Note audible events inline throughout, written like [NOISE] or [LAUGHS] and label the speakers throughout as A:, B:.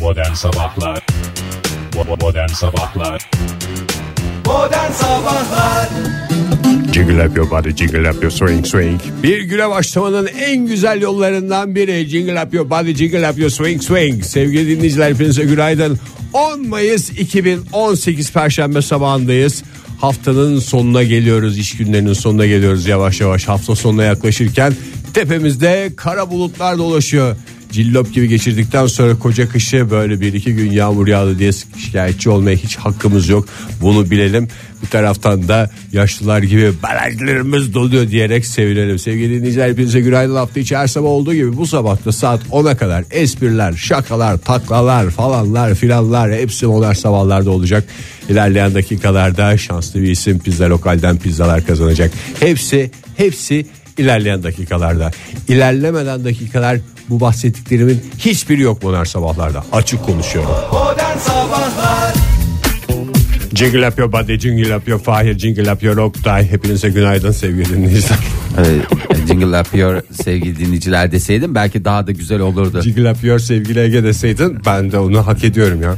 A: Modern Sabahlar Bo- Modern Sabahlar
B: Modern Sabahlar
C: Jiggle up your body, jiggle up your swing swing. Bir güne başlamanın en güzel yollarından biri. Jiggle up your body, jiggle up your swing swing. Sevgili dinleyiciler hepinize günaydın. 10 Mayıs 2018 Perşembe sabahındayız. Haftanın sonuna geliyoruz, iş günlerinin sonuna geliyoruz yavaş yavaş. Hafta sonuna yaklaşırken tepemizde kara bulutlar dolaşıyor. Cillop gibi geçirdikten sonra koca kışı böyle bir iki gün yağmur yağdı diye şikayetçi olmaya hiç hakkımız yok. Bunu bilelim. Bir taraftan da yaşlılar gibi barajlarımız doluyor diyerek sevinelim. Sevgili dinleyiciler hepinize günaydın hafta içi her sabah olduğu gibi bu sabah da saat 10'a kadar espriler, şakalar, taklalar falanlar filanlar hepsi onlar sabahlarda olacak. İlerleyen dakikalarda şanslı bir isim pizza lokalden pizzalar kazanacak. Hepsi hepsi ilerleyen dakikalarda. İlerlemeden dakikalar bu bahsettiklerimin hiçbiri yok Modern Sabahlar'da. Açık konuşuyorum.
B: Modern Sabahlar
C: Jingle up your body, jingle up your fire, jingle up your Oktay. Hepinize günaydın sevgili
D: [LAUGHS]
C: dinleyiciler.
E: Ee, jingle yapıyor sevgili dinleyiciler deseydim belki daha da güzel olurdu.
C: jingle up your sevgili Ege deseydin ben de onu hak ediyorum ya.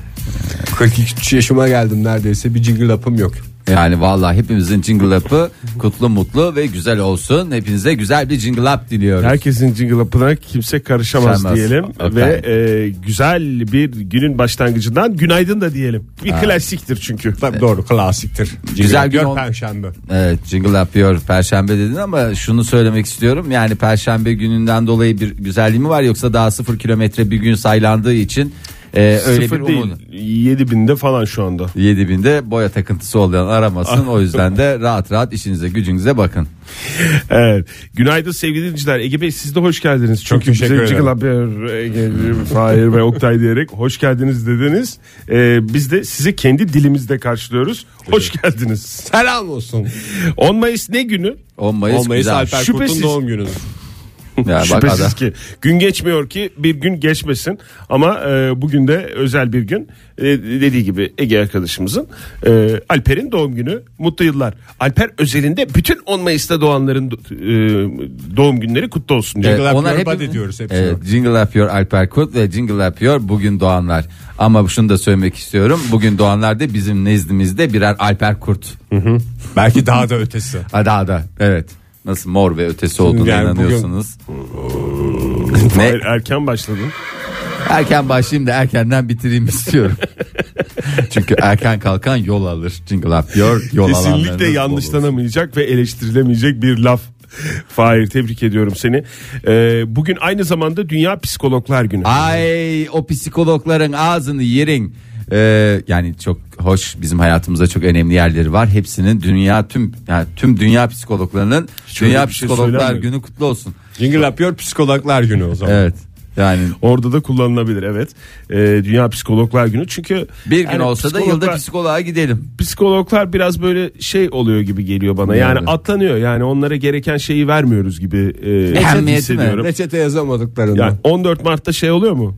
C: 43 yaşıma geldim neredeyse bir jingle up'ım yok.
E: Yani vallahi hepimizin jingle up'ı kutlu mutlu ve güzel olsun. Hepinize güzel bir jingle up diliyoruz.
D: Herkesin jingle up'ına kimse karışamaz
E: Karışamaz.
D: diyelim
E: Efendim.
D: ve e, güzel bir günün başlangıcından günaydın da diyelim. Bir klasiktir çünkü.
C: Tabii doğru klasiktir. Jingle
E: Güzel
C: up
E: gün
C: your
E: ol-
C: perşembe.
E: Evet jingle yapıyor perşembe dedin ama şunu söylemek istiyorum. Yani perşembe gününden dolayı bir güzelliği mi var yoksa daha sıfır kilometre bir gün saylandığı için e, öyle
D: Sıfır
E: bir
D: değil.
E: umut.
D: 7000'de falan şu anda.
E: 7000'de boya takıntısı olan
D: [LAUGHS]
E: aramasın. o yüzden de rahat rahat işinize gücünüze bakın.
D: Evet. Günaydın sevgili dinleyiciler. Ege Bey siz de hoş geldiniz. Çok,
C: teşekkür
D: güzel
C: ederim.
D: Jingle Up, Ege, Fahir ve Oktay diyerek hoş geldiniz dediniz. E, biz de sizi kendi dilimizde karşılıyoruz. Hoş geldiniz.
C: Selam olsun.
D: 10 Mayıs ne günü?
E: 10 Mayıs,
C: 10 Mayıs
E: güzel.
C: Alper Kurt'un
D: Şüphesiz.
C: doğum günü.
E: Ya bak
D: Şüphesiz
E: adam-
D: ki gün geçmiyor ki bir gün geçmesin ama e, bugün de özel bir gün E, dediği gibi Ege arkadaşımızın e, Alper'in doğum günü mutlu yıllar Alper özelinde bütün 10 Mayıs'ta doğanların e, doğum günleri kutlu olsun diyor.
E: Evet,
C: Jingle up
E: Ee, onlar
C: your
E: hep-
C: body diyoruz hepsine.
E: Evet, jingle up your Alper Kurt ve jingle up your bugün doğanlar. Ama şunu da söylemek istiyorum. Bugün doğanlar da bizim nezdimizde birer Alper Kurt.
C: Belki daha da ötesi.
E: Hadi hadi. Evet. Nasıl mor ve ötesi olduğuna
C: yani bugün-
E: inanıyorsunuz. ne?
D: Er- Erken başladın.
E: Erken başlayayım da erkenden
C: [LAUGHS]
E: bitireyim istiyorum. Çünkü erken kalkan yol alır. Jingle up your yol alanlarınız
D: Kesinlikle
E: bol olsun.
D: yanlışlanamayacak ve eleştirilemeyecek bir laf. [LAUGHS] Fahir tebrik ediyorum seni. E, bugün aynı zamanda Dünya Psikologlar Günü.
E: Ay o psikologların ağzını yerin. Ee, yani çok hoş bizim hayatımızda çok önemli yerleri var. Hepsinin dünya tüm yani tüm dünya psikologlarının
D: öyle
E: dünya
D: bir şey
E: psikologlar
D: söylenmiyor.
E: günü kutlu olsun.
C: Jingle up your psikologlar günü o zaman.
E: Evet. Yani
D: Orada da kullanılabilir evet. E, Dünya Psikologlar Günü çünkü
E: bir gün
D: yani
E: olsa da
D: psikologlar-
E: yılda psikoloğa gidelim.
D: psikologlar biraz böyle şey oluyor gibi geliyor bana. Yani
E: Yani.
D: atlanıyor. Yani onlara gereken şeyi vermiyoruz gibi e,
E: Ehemmiyeti
D: hissediyorum.
E: mi?
C: Reçete yazamadıklarını.
D: Yani 14 Mart'ta şey oluyor mu?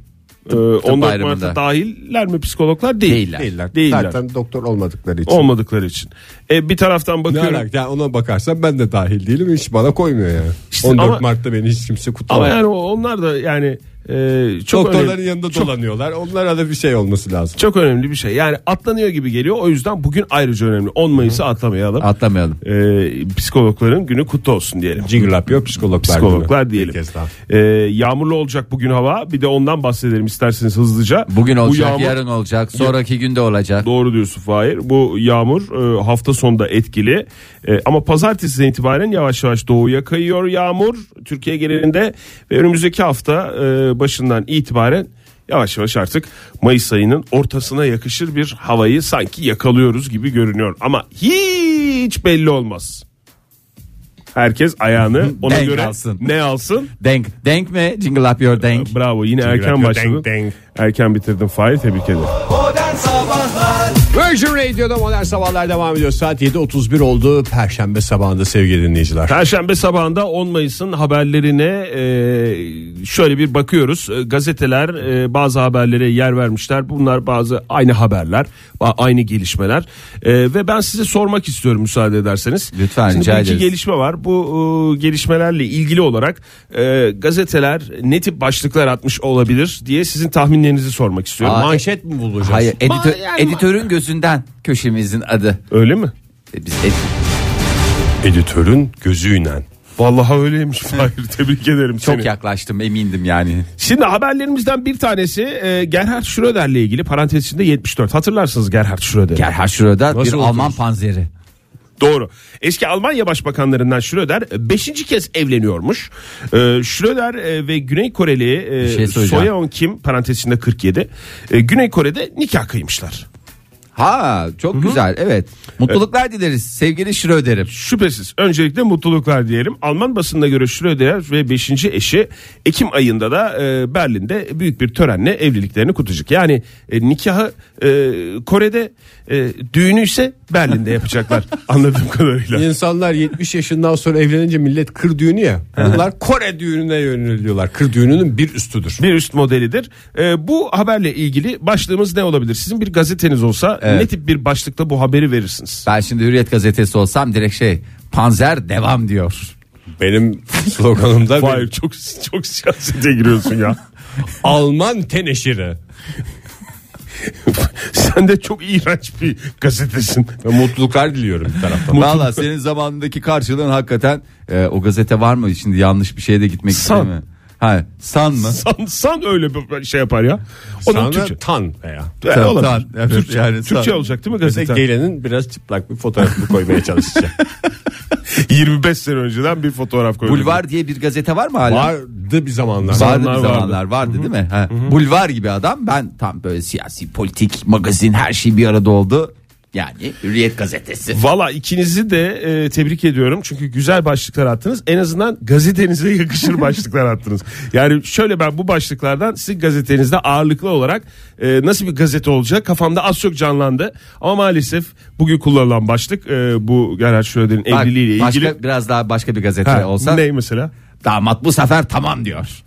D: Ee, 14
E: bayramında.
D: Mart'ta dahiller mi psikologlar? Değil.
E: Değiller.
C: Değiller.
D: Değiller.
C: Zaten doktor olmadıkları için.
D: Olmadıkları için. E, bir taraftan
C: Ne
D: bakıyorum.
C: alaka? Yani ona bakarsan ben de dahil değilim hiç bana koymuyor yani.
D: İşte
C: 14
D: ama-
C: Mart'ta beni hiç kimse
D: Ama
C: kutlamıyor.
D: yani o- onlar da yani e, çok
C: Doktorların
D: önemli,
C: yanında
D: çok,
C: dolanıyorlar. Onlara da bir şey olması lazım.
D: çok önemli bir şey. Yani atlanıyor gibi geliyor. O yüzden bugün ayrıca önemli. 10 Mayıs'ı atlamayalım.
E: Atlamayalım.
D: E, psikologların günü kutlu olsun diyelim.
C: Jingle up your psikologlar,
D: psikologlar
C: günü.
D: diyelim.
C: Bir kez daha.
D: Ee, yağmurlu olacak bugün hava. Bir de ondan bahsedelim isterseniz hızlıca.
E: Bugün
D: Bu
E: olacak,
D: yağmur-
E: yarın olacak, sonraki günde olacak.
D: Doğru diyorsun Fahir. Bu yağmur e, hafta sonunda etkili. E, ama pazartesiden itibaren yavaş yavaş doğuya kayıyor yağmur. Türkiye genelinde ve önümüzdeki hafta e, başından itibaren yavaş yavaş artık Mayıs ayının ortasına yakışır bir havayı sanki yakalıyoruz gibi görünüyor. Ama hiç belli olmaz. Herkes ayağını ona
E: Denk
D: göre
E: alsın.
D: ne alsın?
E: Denk, denk mi? Jingle up your denk.
D: Ee, Bravo yine erken
C: yapıyor,
D: başladın.
C: denk, denk.
D: Erken bitirdin Fahir tebrik ederim.
B: Modern Modern Sabahlar
C: Virgin Radio'da modern sabahlar devam ediyor. Saat 7.31 oldu. Perşembe sabahında sevgili dinleyiciler.
D: Perşembe sabahında 10 Mayıs'ın haberlerine e, şöyle bir bakıyoruz. E, Gazeteler e, bazı haberlere yer vermişler. Bunlar bazı aynı haberler, ba- aynı gelişmeler. E, ve ben size sormak istiyorum müsaade ederseniz.
E: Lütfen,
D: Şimdi
E: rica
D: bir iki
E: ederiz.
D: gelişme var. Bu e, gelişmelerle ilgili olarak e, gazeteler ne tip başlıklar atmış olabilir diye sizin tahminlerinizi sormak istiyorum.
E: Aa,
D: Manş-
C: Manşet mi bulacağız?
E: Hayır editör-
D: yani-
E: editörün gözünden köşemizin adı.
D: Öyle mi? [LAUGHS]
E: E, Biz edit-
D: Editörün gözüyle. Vallahi öyleymiş. Hayır tebrik ederim
E: çok
D: seni.
E: yaklaştım emindim yani.
D: Şimdi haberlerimizden bir tanesi e, Gerhard Schröder'le ilgili parantez içinde 74. Hatırlarsınız Gerhard Schröder'i.
E: Gerhard Schröder bir
D: Nasıl
E: Alman panzeri.
D: Doğru. Eski Almanya başbakanlarından Schröder 5. kez evleniyormuş. E, Schröder e, ve Güney Koreli e,
E: şey söyleyeceğim.
D: Soyeon Kim parantez içinde 47. e, Güney Kore'de nikah kıymışlar.
E: Ha çok güzel evet. Mutluluklar dileriz sevgili Schröder'im.
D: Şüphesiz. Öncelikle mutluluklar diyelim. Alman basınına göre Schröder ve 5. eşi Ekim ayında da e, Berlin'de büyük bir törenle evliliklerini kutlayacak. Yani e, nikahı e, Kore'de e, düğünü ise Berlin'de yapacaklar anladığım kadarıyla.
C: İnsanlar 70 yaşından sonra evlenince millet kır düğünü ya. Bunlar Kore düğününe yöneliyorlar. Kır düğününün bir üstüdür.
D: Bir üst modelidir. E, bu haberle ilgili başlığımız ne olabilir? Sizin bir gazeteniz olsa ne tip bir başlıkta bu haberi verirsiniz?
E: Ben şimdi Hürriyet gazetesi olsam direkt şey panzer devam diyor.
C: Benim [LAUGHS] sloganımda
D: Vay
C: bir
D: çok çok siyasete giriyorsun ya.
C: Alman teneşiri.
D: Sen de çok iğrenç bir gazetesin.
C: Ve mutluluklar diliyorum bir [LAUGHS] taraftan.
E: Valla senin zamanındaki karşılığın hakikaten e, o gazete var mı şimdi yanlış bir şeye de gitmek
D: San.
E: istemiyorum. Ha, san mı?
D: San, san öyle bir şey yapar ya. Onun
C: Sana
D: Türkçe.
C: tan veya.
D: Yani
E: Tan,
D: olabilir.
E: tan, evet,
D: Türkçe,
E: yani
D: Türkçe
E: san.
D: olacak değil mi
C: Ve
D: gazete?
C: gelenin biraz çıplak bir fotoğrafını koymaya [LAUGHS] çalışacağım.
D: [LAUGHS] 25 sene önceden bir fotoğraf koyuyor.
E: Bulvar diye bir gazete var mı hala?
C: Vardı bir zamanlar.
E: Vardı
D: Zamanlar
E: bir zamanlar vardı, değil mi? Ha, Bulvar gibi adam ben tam böyle siyasi politik magazin her şey bir arada oldu. Yani Hürriyet gazetesi.
D: Valla ikinizi de e, tebrik ediyorum. Çünkü güzel başlıklar attınız. En azından gazetenize
E: [LAUGHS]
D: yakışır başlıklar attınız. Yani şöyle ben bu başlıklardan sizin gazetenizde ağırlıklı olarak e, nasıl bir gazete olacak kafamda az çok canlandı. Ama maalesef bugün kullanılan başlık e, bu Gerhard Schröder'in
E: Bak,
D: evliliğiyle
E: başka,
D: ilgili.
E: Biraz daha başka bir gazete
D: Ha,
E: olsa
D: Ne mesela?
E: damat bu sefer tamam diyor.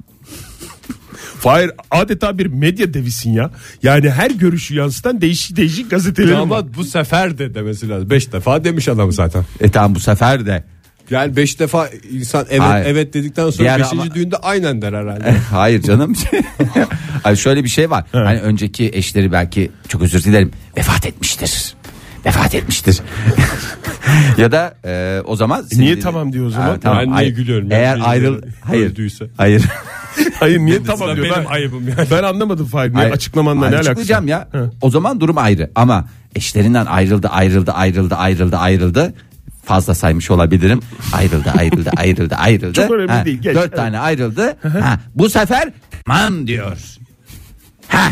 D: Fahir adeta bir medya devisin ya. Yani her görüşü yansıtan değişik değişik gazetelerin var.
C: Damat bu sefer de demesi lazım. Beş defa demiş adam zaten.
E: E tamam bu sefer de. [LAUGHS]
C: Yani beş defa insan evet
E: Hayır.
C: evet dedikten sonra
E: Diğer
C: beşinci
E: ama-
C: düğünde aynen der herhalde.
E: Hayır canım. [LAUGHS] Ay şöyle bir şey var. Hani önceki eşleri belki çok özür dilerim vefat etmiştir. Vefat etmiştir. [LAUGHS] ya da e, o zaman
D: niye tamam diyor o zaman?
C: Ben niye
E: Ay-
C: gülüyorum ya?
E: Eğer
C: Şey
E: ayrıl
C: diyorum,
E: hayır.
C: öldüyse.
E: Hayır.
D: [LAUGHS]
C: [LAUGHS]
D: Hayır niye tamam diyor?
C: benim
D: Ben,
C: ayıbım yani.
D: ben anlamadım Fahir. Niye
E: Hayır.
D: açıklamanla
E: Hayır,
D: ne alakası?
E: açıklayacağım ya. O zaman durum ayrı ama eşlerinden ayrıldı ayrıldı ayrıldı ayrıldı ayrıldı fazla saymış olabilirim. Ayrıldı
D: [LAUGHS]
E: ayrıldı ayrıldı ayrıldı.
D: Çok önemli değil, geç.
E: Dört
D: Evet.
E: tane ayrıldı. ha, bu sefer tamam diyor. Ha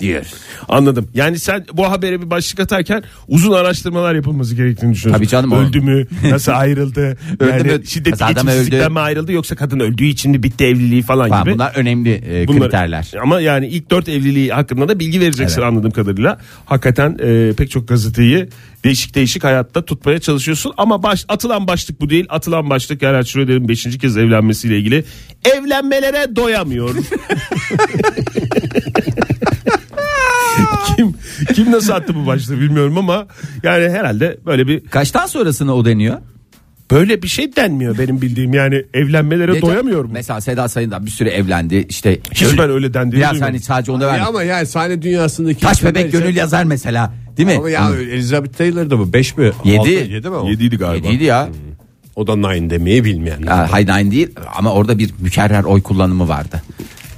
E: diyor.
D: Anladım. Yani sen bu habere bir başlık atarken uzun araştırmalar yapılması gerektiğini düşünüyorsun.
E: Tabii canım, o-
D: Öldü mü? Nasıl ayrıldı?
E: Öldü
D: yani
E: mü?
D: şiddet
E: Adam öldü.
D: geçimsizlikten mi ayrıldı yoksa kadın öldüğü için mi bitti evliliği falan
E: Ha,
D: gibi.
E: bunlar önemli e,
D: Bunlar-
E: kriterler.
D: Ama yani ilk dört evliliği hakkında da bilgi vereceksin anladığım kadarıyla. Hakikaten e, pek çok gazeteyi değişik değişik hayatta tutmaya çalışıyorsun. Ama baş, atılan başlık bu değil. Atılan başlık Gerhard Schröder'in beşinci kez evlenmesiyle ilgili. Evlenmelere doyamıyor.
E: [LAUGHS]
D: kim kim nasıl attı bu başlığı bilmiyorum ama yani herhalde böyle bir
E: Kaçtan sonrasını o deniyor?
D: böyle bir şey denmiyor benim bildiğim yani evlenmelere
E: Geçen-
D: doyamıyor mu?
E: Mesela Seda Sayın'dan bir sürü evlendi. İşte
D: Hiç ben öyle dendiğini
E: Biraz
D: duymadım.
E: hani sadece onu
C: Ya
E: vermiyor.
C: ama [LAUGHS] yani sahne dünyasındaki
E: Taş
C: insanlar
E: bebek
C: için-
E: gönül yazar mesela. Değil
C: [LAUGHS]
E: mi?
C: Ama ya Elizabeth Taylor da bu 5 mi?
E: Yedi.
C: Altı, yedi mi o?
D: Yediydi galiba.
E: Yediydi ya.
C: O da nine demeyi bilmeyen.
E: Ha, Hayır Ee, aynı değil ama orada bir mükerrer oy kullanımı vardı.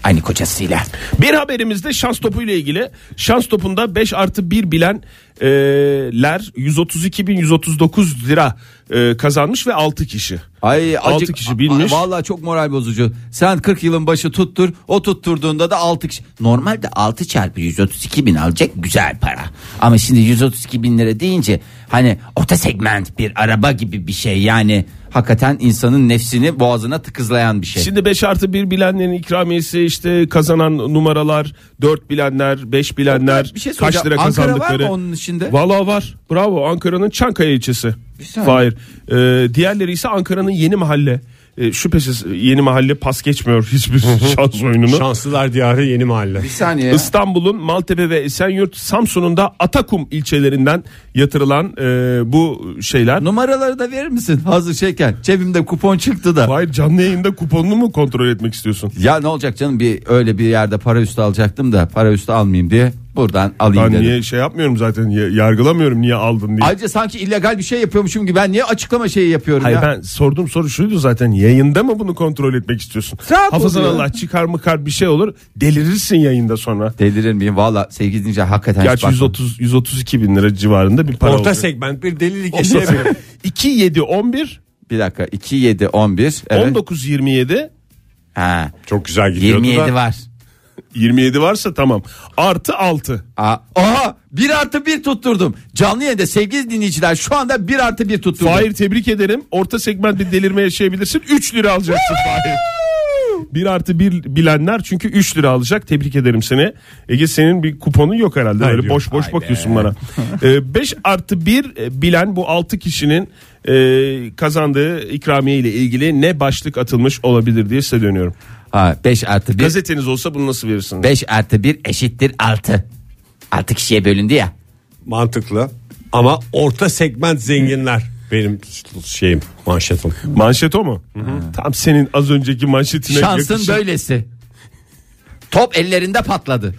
E: Aynı kocasıyla.
D: Bir haberimizde şans topu ile ilgili şans topunda 5 artı e, 1 bilenler 132.139 lira e, kazanmış ve 6 kişi.
E: Ay
D: Altı kişi bilmiş.
E: Ay, Vallahi çok moral bozucu. Sen 40 yılın başı tuttur. O tutturduğunda da 6 kişi. Normalde 6 çarpı 132 bin alacak güzel para. Ama şimdi 132 bin lira deyince hani orta segment bir araba gibi bir şey yani hakikaten insanın nefsini boğazına tıkızlayan bir şey.
D: Şimdi 5 artı 1 bilenlerin ikramiyesi işte kazanan numaralar 4 bilenler 5 bilenler
E: bir şey
D: kaç lira
E: soracağım. Ankara var
D: kazandıkları.
E: mı onun içinde?
D: Valla var bravo Ankara'nın Çankaya ilçesi.
E: saniye.
D: Hayır diğerleri ise Ankara'nın yeni mahalle. Ee, şüphesiz yeni mahalle pas geçmiyor hiçbir şans oyununu.
C: Şanslılar diyarı yeni mahalle.
E: bir saniye.
D: İstanbul'un Maltepe ve Esenyurt Samsun'un da Atakum ilçelerinden yatırılan e, bu şeyler.
E: Numaraları da verir misin hazır şeyken? Cebimde kupon çıktı da.
D: Hayır canlı yayında kuponunu mu kontrol etmek istiyorsun?
E: Ya ne olacak canım bir öyle bir yerde para üstü alacaktım da para üstü almayayım diye buradan alayım
D: Ben
E: dedim.
D: niye şey yapmıyorum zaten ya- yargılamıyorum niye aldın diye.
E: Ayrıca sanki illegal bir şey yapıyormuşum gibi ben niye açıklama şeyi yapıyorum
D: Hayır
E: ya?
D: Hani ben sorduğum soru şuydu zaten yayında mı bunu kontrol etmek istiyorsun?
E: Rahat
D: Hafızan
E: oluyor.
D: Allah çıkar mıkar bir şey olur delirirsin yayında sonra.
E: Delirir miyim valla sevgili dinleyiciler hakikaten hiç
D: Gerçi
E: bakmadım.
D: 130 132 bin lira civarında bir para
C: Orta
D: oldu.
C: segment bir delilik
D: Ondan sonra [LAUGHS]
C: yaşayabilir.
D: 2 7 11
E: Bir dakika 2 7 11 evet.
D: 19 27
E: Ha,
C: Çok güzel gidiyordu
E: 27
C: da.
E: var.
D: 27 varsa tamam. Artı 6.
E: Aa, aha 1 artı 1 tutturdum. Canlı yayında sevgili dinleyiciler şu anda 1 artı 1 tutturdum.
D: Fahir tebrik ederim. Orta segment bir delirme yaşayabilirsin. 3 lira alacaksın Fahir. 1 artı 1 bilenler çünkü 3 lira alacak. Tebrik ederim seni. Ege senin bir kuponun yok herhalde.
C: Hayır,
D: Böyle
C: yok.
D: boş boş
E: Vay
D: bakıyorsun
E: be.
D: bana. 5 artı 1 bilen bu 6 kişinin e, kazandığı ikramiye ile ilgili ne başlık atılmış olabilir diye size dönüyorum.
E: Ha, 5 artı 1
D: Gazeteniz olsa bunu nasıl verirsiniz?
E: 5 artı 1 eşittir 6. 6 kişiye bölündü ya.
C: Mantıklı. Ama orta segment zenginler benim şeyim manşetim.
D: Manşet o mu? Tam senin az önceki manşetine
E: Şansın
D: yakışır.
E: böylesi. Top ellerinde patladı.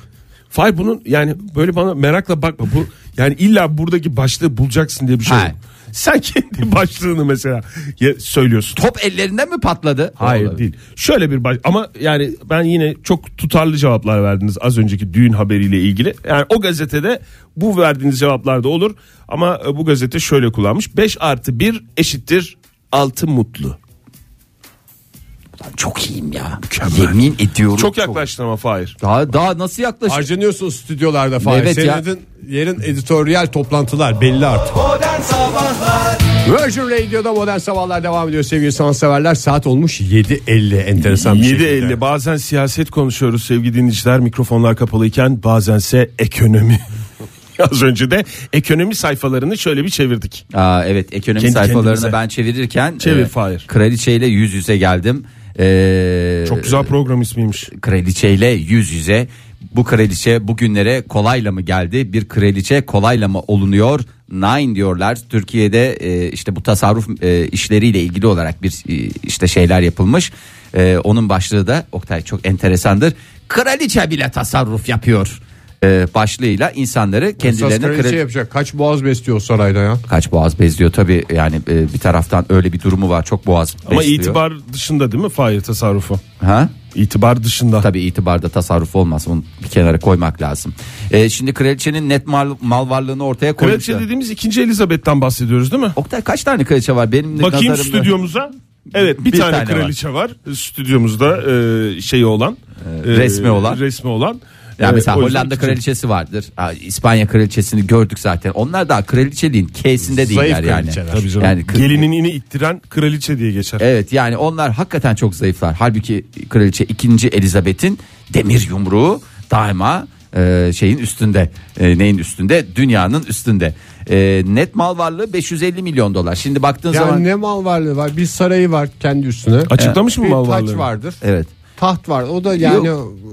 D: Fay bunun yani böyle bana merakla bakma. Bu yani illa buradaki başlığı bulacaksın diye bir şey. yok.
E: Hayır.
D: Sen kendi [LAUGHS] başlığını mesela ya- söylüyorsun.
E: Top ellerinden mi patladı?
D: Hayır
E: Olabilir.
D: değil. Şöyle bir baş ama yani ben yine çok tutarlı cevaplar verdiniz az önceki düğün haberiyle ilgili. Yani o gazetede bu verdiğiniz cevaplar da olur ama e, bu gazete şöyle kullanmış. 5 artı 1 eşittir 6 mutlu.
E: Çok iyiyim ya. Yemin ediyorum.
D: Çok yaklaştın ama Fahir.
E: Daha daha nasıl yaklaşık?
C: Harcanıyorsun stüdyolarda falan.
E: Evet
C: Senin
E: ya.
C: adın- yerin editoryal toplantılar belli artık.
B: Modern Sabahlar
C: Virgin Radio'da modern sabahlar devam ediyor sevgili sanatseverler. Saat olmuş 7.50 enteresan bir şey
D: 7.50 bazen siyaset konuşuyoruz sevgili dinleyiciler mikrofonlar kapalıyken bazense ekonomi. Az önce de ekonomi sayfalarını şöyle bir çevirdik.
E: Aa, evet ekonomi
D: Kendi
E: sayfalarını
D: kendimize.
E: ben çevirirken e,
D: Çevir, Fahir.
E: kraliçeyle yüz yüze geldim. E,
D: Çok güzel program ismiymiş.
E: Kraliçeyle yüz yüze. Bu kraliçe bugünlere kolayla mı geldi? Bir kraliçe kolayla mı olunuyor? Nine diyorlar. Türkiye'de e, işte bu tasarruf e, işleriyle ilgili olarak bir e, işte şeyler yapılmış. E, onun başlığı da Oktay çok enteresandır. Kraliçe bile tasarruf yapıyor. E, başlığıyla insanları
C: Esas
E: kendilerine
C: kraliçe
E: kraliçe
C: yapacak. Kaç boğaz besliyor sarayda ya?
E: kaç boğaz bezliyor tabi yani e, bir taraftan öyle bir durumu var çok boğaz
D: Ama
E: besliyor.
D: itibar dışında değil mi Fahir tasarrufu?
E: ha
D: İtibar dışında.
E: tabi itibarda tasarruf olmaz onu bir kenara koymak lazım E, şimdi kraliçenin net mal, mal varlığını ortaya koymuşlar
D: Kraliçe dediğimiz 2. Elizabeth'ten bahsediyoruz değil mi?
E: Oktay kaç tane kraliçe var benim
D: Bakayım
E: nazarımda-
D: stüdyomuza. Evet bir,
E: Bir
D: tane,
E: tane
D: kraliçe var. Ee, Stüdyomuzda e, şeyi olan. e,
E: resmi olan.
D: Resmi olan.
E: Ya
D: E,
E: mesela
D: o yüzden
E: Hollanda
D: ikinci.
E: kraliçesi vardır. Ha, İspanya kraliçesini gördük zaten. Onlar daha kraliçeliğin k'sinde
C: Zayıf
E: değiller yani.
C: kraliçeler.
D: Tabii canım.
E: Yani kı-
D: Gelinini ittiren kraliçe diye geçer.
E: Evet yani onlar hakikaten çok zayıflar. Halbuki kraliçe 2. Elizabeth'in demir yumruğu daima e, şeyin üstünde. E, neyin üstünde? Dünyanın üstünde. E, net mal varlığı 550 milyon dolar. Şimdi baktığın
C: Yani
E: zaman
C: ne mal varlığı var? Bir sarayı var kendi üstüne.
D: Açıklamış mı
C: bir
D: mal
C: taç
D: varlığını?
C: vardır.
E: evet.
C: Taht var. O da yani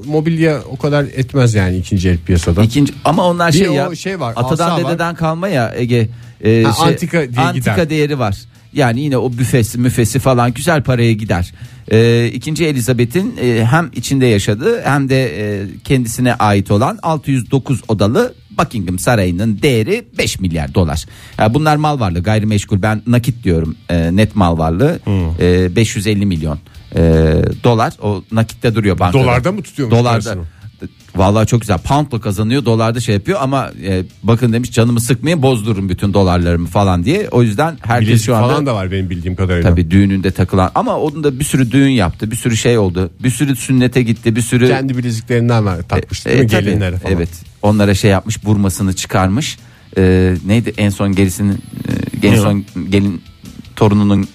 C: mobilya o kadar etmez yani ikinci el piyasada.
E: İkinci ama onlar
C: Bir
E: şey
C: o
E: ya.
C: şey var,
E: atadan
C: asa var.
E: dededen kalma ya Ege. E,
C: Ha, antika diye
E: antika
C: gider.
E: değeri var. Yani yine o büfesi müfesi falan güzel paraya gider. E, ikinci Elizabeth'in e, hem içinde yaşadığı hem de e, kendisine ait olan 609 odalı Buckingham Sarayı'nın değeri 5 milyar dolar. Ha, bunlar mal varlığı gayrimeşgul ben nakit diyorum e, net mal varlığı e, 550 milyon e, dolar o nakitte duruyor bankada.
C: Dolarda mı tutuyormuş
E: Dolarda.
C: parasını?
E: Vallahi çok güzel. Pound'la kazanıyor, dolarda şey yapıyor ama e, bakın demiş canımı sıkmayın, bozdurun bütün dolarlarımı falan diye. O yüzden herkes
C: Bilezik
E: şu anda
C: falan da var benim bildiğim kadarıyla.
E: tabii düğününde takılan ama onun da bir sürü düğün yaptı, bir sürü şey oldu. Bir sürü sünnete gitti, bir sürü
C: Kendi bileziklerinden var takmış değil
E: E,
C: mi
E: tabii,
C: gelinlere falan.
E: Evet. Onlara şey yapmış, burmasını çıkarmış. E, neydi en son gerisini e, en son gelin torununun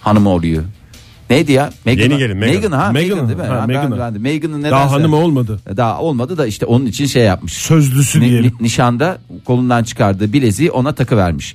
E: hanımı oluyor. Neydi ya? Meghan,
C: Yeni gelin, Meghan.
E: Meghan ha.
D: Meghan,
E: Meghan, değil mi?
D: ha,
E: Ha, ben-
D: Meghan.
E: ben de Meghan'ın nedense-
D: Daha hanım olmadı.
E: E, Daha olmadı da işte onun için şey yapmış.
D: Sözlüsü
E: Ni-
D: diyelim.
E: ni- nişanda kolundan çıkardığı bileziği ona takı vermiş.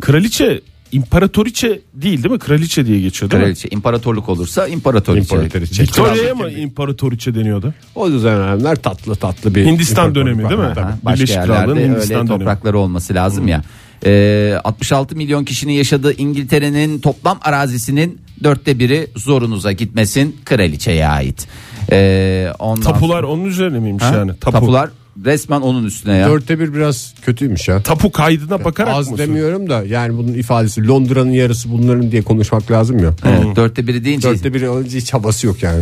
D: Kraliçe imparatoriçe değil değil mi? Kraliçe diye geçiyor değil
E: kraliçe imparatorluk olursa imparatoriçe.
C: İmparatoriçe.
D: mi? Victoria'ya mı imparatoriçe deniyordu?
C: O dönemler tatlı tatlı bir
D: Hindistan
C: imparatorluk
D: dönemi
C: var.
D: değil mi?
C: Tabii.
E: Ha, Başka
D: Birleşik
E: yerlerde
D: Krallığın
E: öyle
D: Hindistan dönemi.
E: toprakları olması lazım
D: Hmm.
E: ya. Ee, 66 milyon kişinin yaşadığı İngiltere'nin toplam arazisinin dörtte biri zorunuza gitmesin kraliçeye ait. Ee, ondan
D: Tapular onun üzerine miymiş
E: Ha?
D: yani? Tapu.
E: Tapular resmen onun üstüne ya.
C: Dörtte bir biraz kötüymüş ya.
D: Tapu kaydına bakarak
C: Az
D: mı?
C: demiyorum da yani bunun ifadesi Londra'nın yarısı bunların diye konuşmak lazım ya.
D: Hmm.
E: Evet, dörtte biri deyince
C: Dörtte bir önce hiç havası yok yani.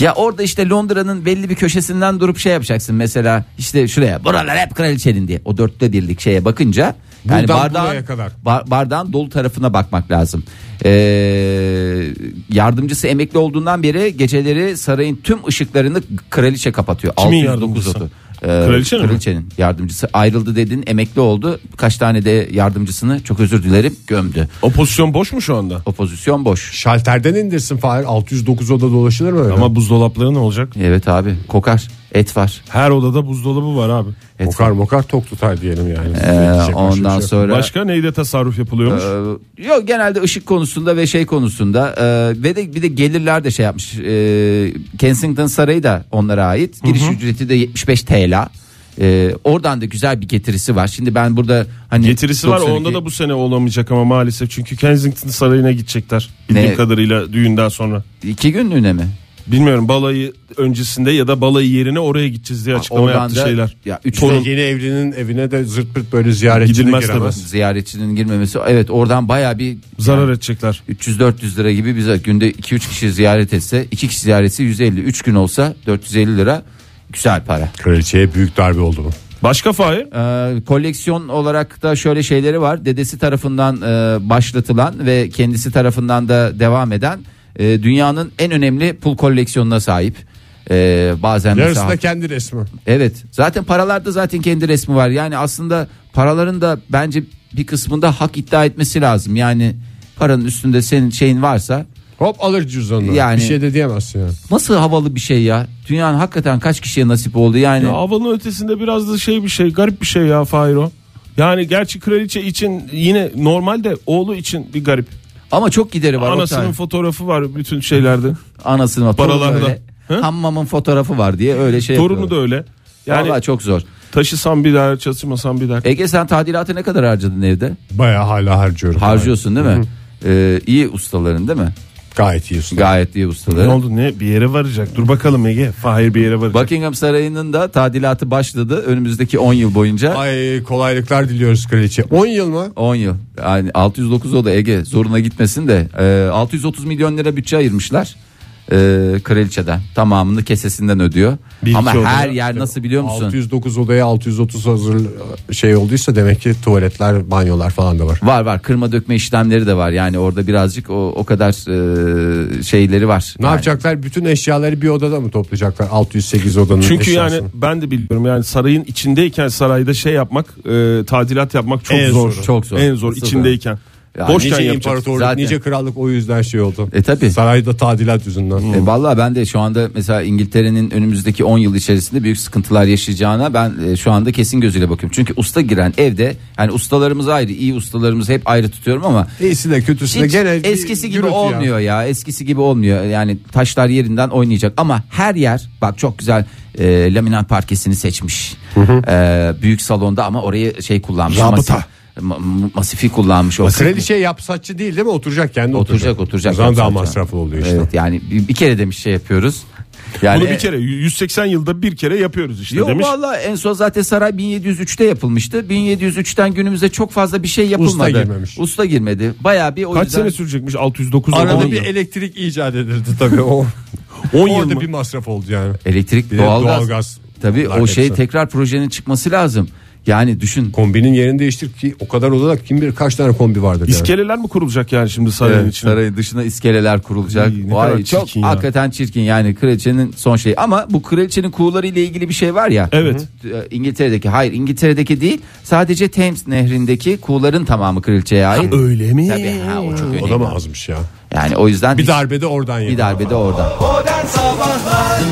E: ya orada işte Londra'nın belli bir köşesinden durup şey yapacaksın mesela işte şuraya buralar hep kraliçenin diye o dörtte birlik şeye bakınca yani
C: Buradan
E: bardağın,
C: buraya kadar.
E: ba- bardağın dolu tarafına bakmak lazım. Ee, yardımcısı emekli olduğundan beri geceleri sarayın tüm ışıklarını kraliçe kapatıyor. 609
D: Kimin yardımcısı?
E: otu. Ee,
D: Kraliçenin mi?
E: kraliçenin yardımcısı ayrıldı dedin emekli oldu kaç tane de yardımcısını çok özür dilerim gömdü.
D: O pozisyon boş mu şu anda?
E: O pozisyon boş.
C: Şalterden indirsin Fahir 609 oda dolaşılır mı öyle?
D: Ama buzdolapları ne olacak?
E: Evet abi kokar et var.
D: Her odada buzdolabı var abi.
E: Et
C: mokar mokar tok tutar diyelim yani.
E: Ee,
C: Diyecek başka bir şey
E: ondan
C: yok.
E: sonra
D: Başka neyde tasarruf yapılıyormuş?
E: Ee, Yok genelde ışık konusunda ve şey konusunda e, ve de bir de gelirler de şey yapmış. E, Kensington Sarayı da onlara ait. Giriş ücreti de 75 TL. E, oradan da güzel bir getirisi var. Şimdi ben burada hani
D: Getirisi var
E: 92
D: onda da bu sene olamayacak ama maalesef çünkü Kensington Sarayı'na gidecekler. Bildiğim
E: Ne?
D: kadarıyla düğünden sonra.
E: iki günlüğüne mi?
D: Bilmiyorum balayı öncesinde ya da balayı yerine oraya gideceğiz diye açıklama
E: oradan
D: yaptı
E: da-
D: şeyler.
E: ya üç
D: Torun-
C: Yeni evlinin evine de zırt pırt böyle ziyaretçi de
D: Gidilmez
C: giremez.
E: Ziyaretçinin girmemesi evet oradan baya bir
D: zarar edecekler.
E: 300-400 lira gibi bize günde 2-3 kişi ziyaret etse 2 kişi ziyareti 150 3 gün olsa 450 lira güzel para.
C: Kraliçeye büyük darbe oldu mu?
D: Başka Fahir?
E: Ee, koleksiyon olarak da şöyle şeyleri var. Dedesi tarafından e, başlatılan ve kendisi tarafından da devam eden e, dünyanın en önemli pul koleksiyonuna sahip. Ee, bazen mesela-
C: Yarısı da kendi resmi.
E: evet zaten paralarda zaten kendi resmi var. Yani aslında paraların da bence bir kısmında hak iddia etmesi lazım. Yani paranın üstünde senin şeyin varsa
C: Hop alır cüzdanını.
E: Yani-
C: Bir şey de diyemezsin yani.
E: nasıl havalı bir şey ya. Dünyanın hakikaten kaç kişiye nasip oldu yani.
D: Ya havanın ötesinde biraz da şey bir şey garip bir şey ya Fahir o. Yani gerçi kraliçe için yine normalde oğlu için bir garip.
E: Ama çok gideri var.
D: Anasının
E: Oktay.
D: fotoğrafı var bütün şeylerde.
E: anasının
D: Paralarda.
E: torunu öyle.
D: Hı?
E: Hammamın fotoğrafı var diye öyle şey
D: Torunu da
E: yapıyorlar.
D: öyle.
E: Vallahi
D: Yani
E: çok zor.
D: taşısan bir der, çalışmasan bir der.
E: Ege sen tadilatı ne kadar harcadın evde?
C: Baya hala harcıyorum.
E: Harcıyorsun değil mi? Ee, iyi ustaların değil mi?
C: Gayet iyi. usta.
E: Gayet iyi
D: Ne
E: ustaların.
D: oldu ne bir yere varacak. Dur bakalım Ege. Fahir bir yere varacak.
E: Buckingham Sarayı'nın da tadilatı başladı önümüzdeki 10 yıl boyunca.
C: Ay kolaylıklar diliyoruz kraliçe. 10 yıl mı?
E: 10 yıl. Yani 609 o da Ege zoruna gitmesin de. Ee, 630 milyon lira bütçe ayırmışlar. Ee, kraliçeden tamamını kesesinden ödüyor.
D: Bir iki
E: Ama
D: oda.
E: her yer nasıl biliyor musun?
C: 609 odaya 630 hazır şey olduysa demek ki tuvaletler, banyolar falan da var.
E: Var var kırma dökme işlemleri de var yani orada birazcık o, o kadar e, şeyleri var.
C: Ne
E: Yani
C: yapacaklar? Bütün eşyaları bir odada mı toplayacaklar? 608 odanın
D: Çünkü yani
C: eşyasını.
D: ben de biliyorum yani sarayın içindeyken sarayda şey yapmak, e, tadilat yapmak çok
C: En
D: zor.
C: zoru.
E: Çok zor.
D: En zor
E: Nasıl
D: içindeyken.
E: Yani
D: Boşken
C: nice
D: yapacak.
C: imparatorluk,
E: Zaten.
C: nice krallık o yüzden şey oldu.
E: E, tabii.
C: Sarayda tadilat yüzünden.
E: E, vallahi ben de şu anda mesela İngiltere'nin önümüzdeki 10 yıl içerisinde büyük sıkıntılar yaşayacağına ben e, şu anda kesin gözüyle bakıyorum. Çünkü usta giren evde yani ustalarımız ayrı, iyi ustalarımızı hep ayrı tutuyorum ama
C: İyisi de kötüsü de
E: hiç
C: gene bir
E: eskisi gibi
C: gürültü ya.
E: olmuyor ya. Eskisi gibi olmuyor. Yani taşlar yerinden oynayacak ama her yer bak çok güzel e, laminat parkesini seçmiş. E, büyük salonda ama orayı şey kullanmış.
D: Rabıta.
E: ma- ma- masifi kullanmış. O
C: Kraliçe yapsatçı değil değil mi? Oturacak kendi
E: oturacak oturacak.
C: O zaman daha
E: yapacak.
C: masraflı oluyor işte.
E: Evet, yani bir, bir kere demiş şey yapıyoruz. Yani
C: Hani-
E: e,
D: Bunu bir kere 180 yılda bir kere yapıyoruz işte
E: Yok
D: demiş.
E: valla en son zaten saray 1703'te yapılmıştı. 1703'ten günümüze çok fazla bir şey yapılmadı.
C: Usta girmemiş.
E: Usta girmedi. Bayağı bir o
D: Kaç
E: yüzden
D: sene sürecekmiş 609
C: Arada
D: on
C: bir
D: yıl.
C: elektrik icat edildi tabii.
D: [LAUGHS]
C: O
D: 10 yıl
C: Orada
D: mı?
C: bir masraf oldu yani.
E: elektrik,
C: Bir de
E: doğalgaz.
C: doğalgaz.
E: Tabii
C: Bunlar
E: o şey
C: hepsi.
E: tekrar projenin çıkması lazım. Yani düşün. e,
C: Kombinin yerini değiştir ki o kadar odanak kim bilir kaç tane kombi vardır. yani.
D: İskeleler mi kurulacak yani şimdi sarayın
E: Evet,
D: içine?
E: sarayın dışına iskeleler kurulacak.
D: İyi, ne kadar
E: Vay
D: çirkin
E: çok
D: ya.
E: hakikaten çirkin yani kraliçenin son şeyi. Ama bu kraliçenin kuğuları ile ilgili bir şey var ya.
D: Evet.
E: Hı. E, İngiltere'deki hayır İngiltere'deki değil sadece Thames nehrindeki kuğuların tamamı kraliçeye ait.
D: Öyle mi?
E: Tabii ha o çok
C: O da mı
E: önemli.
C: azmış ya?
E: Yani o yüzden
C: Bir darbede oradan
E: bir
C: yedi.
E: darbe de oradan.
B: Modern Sabahlar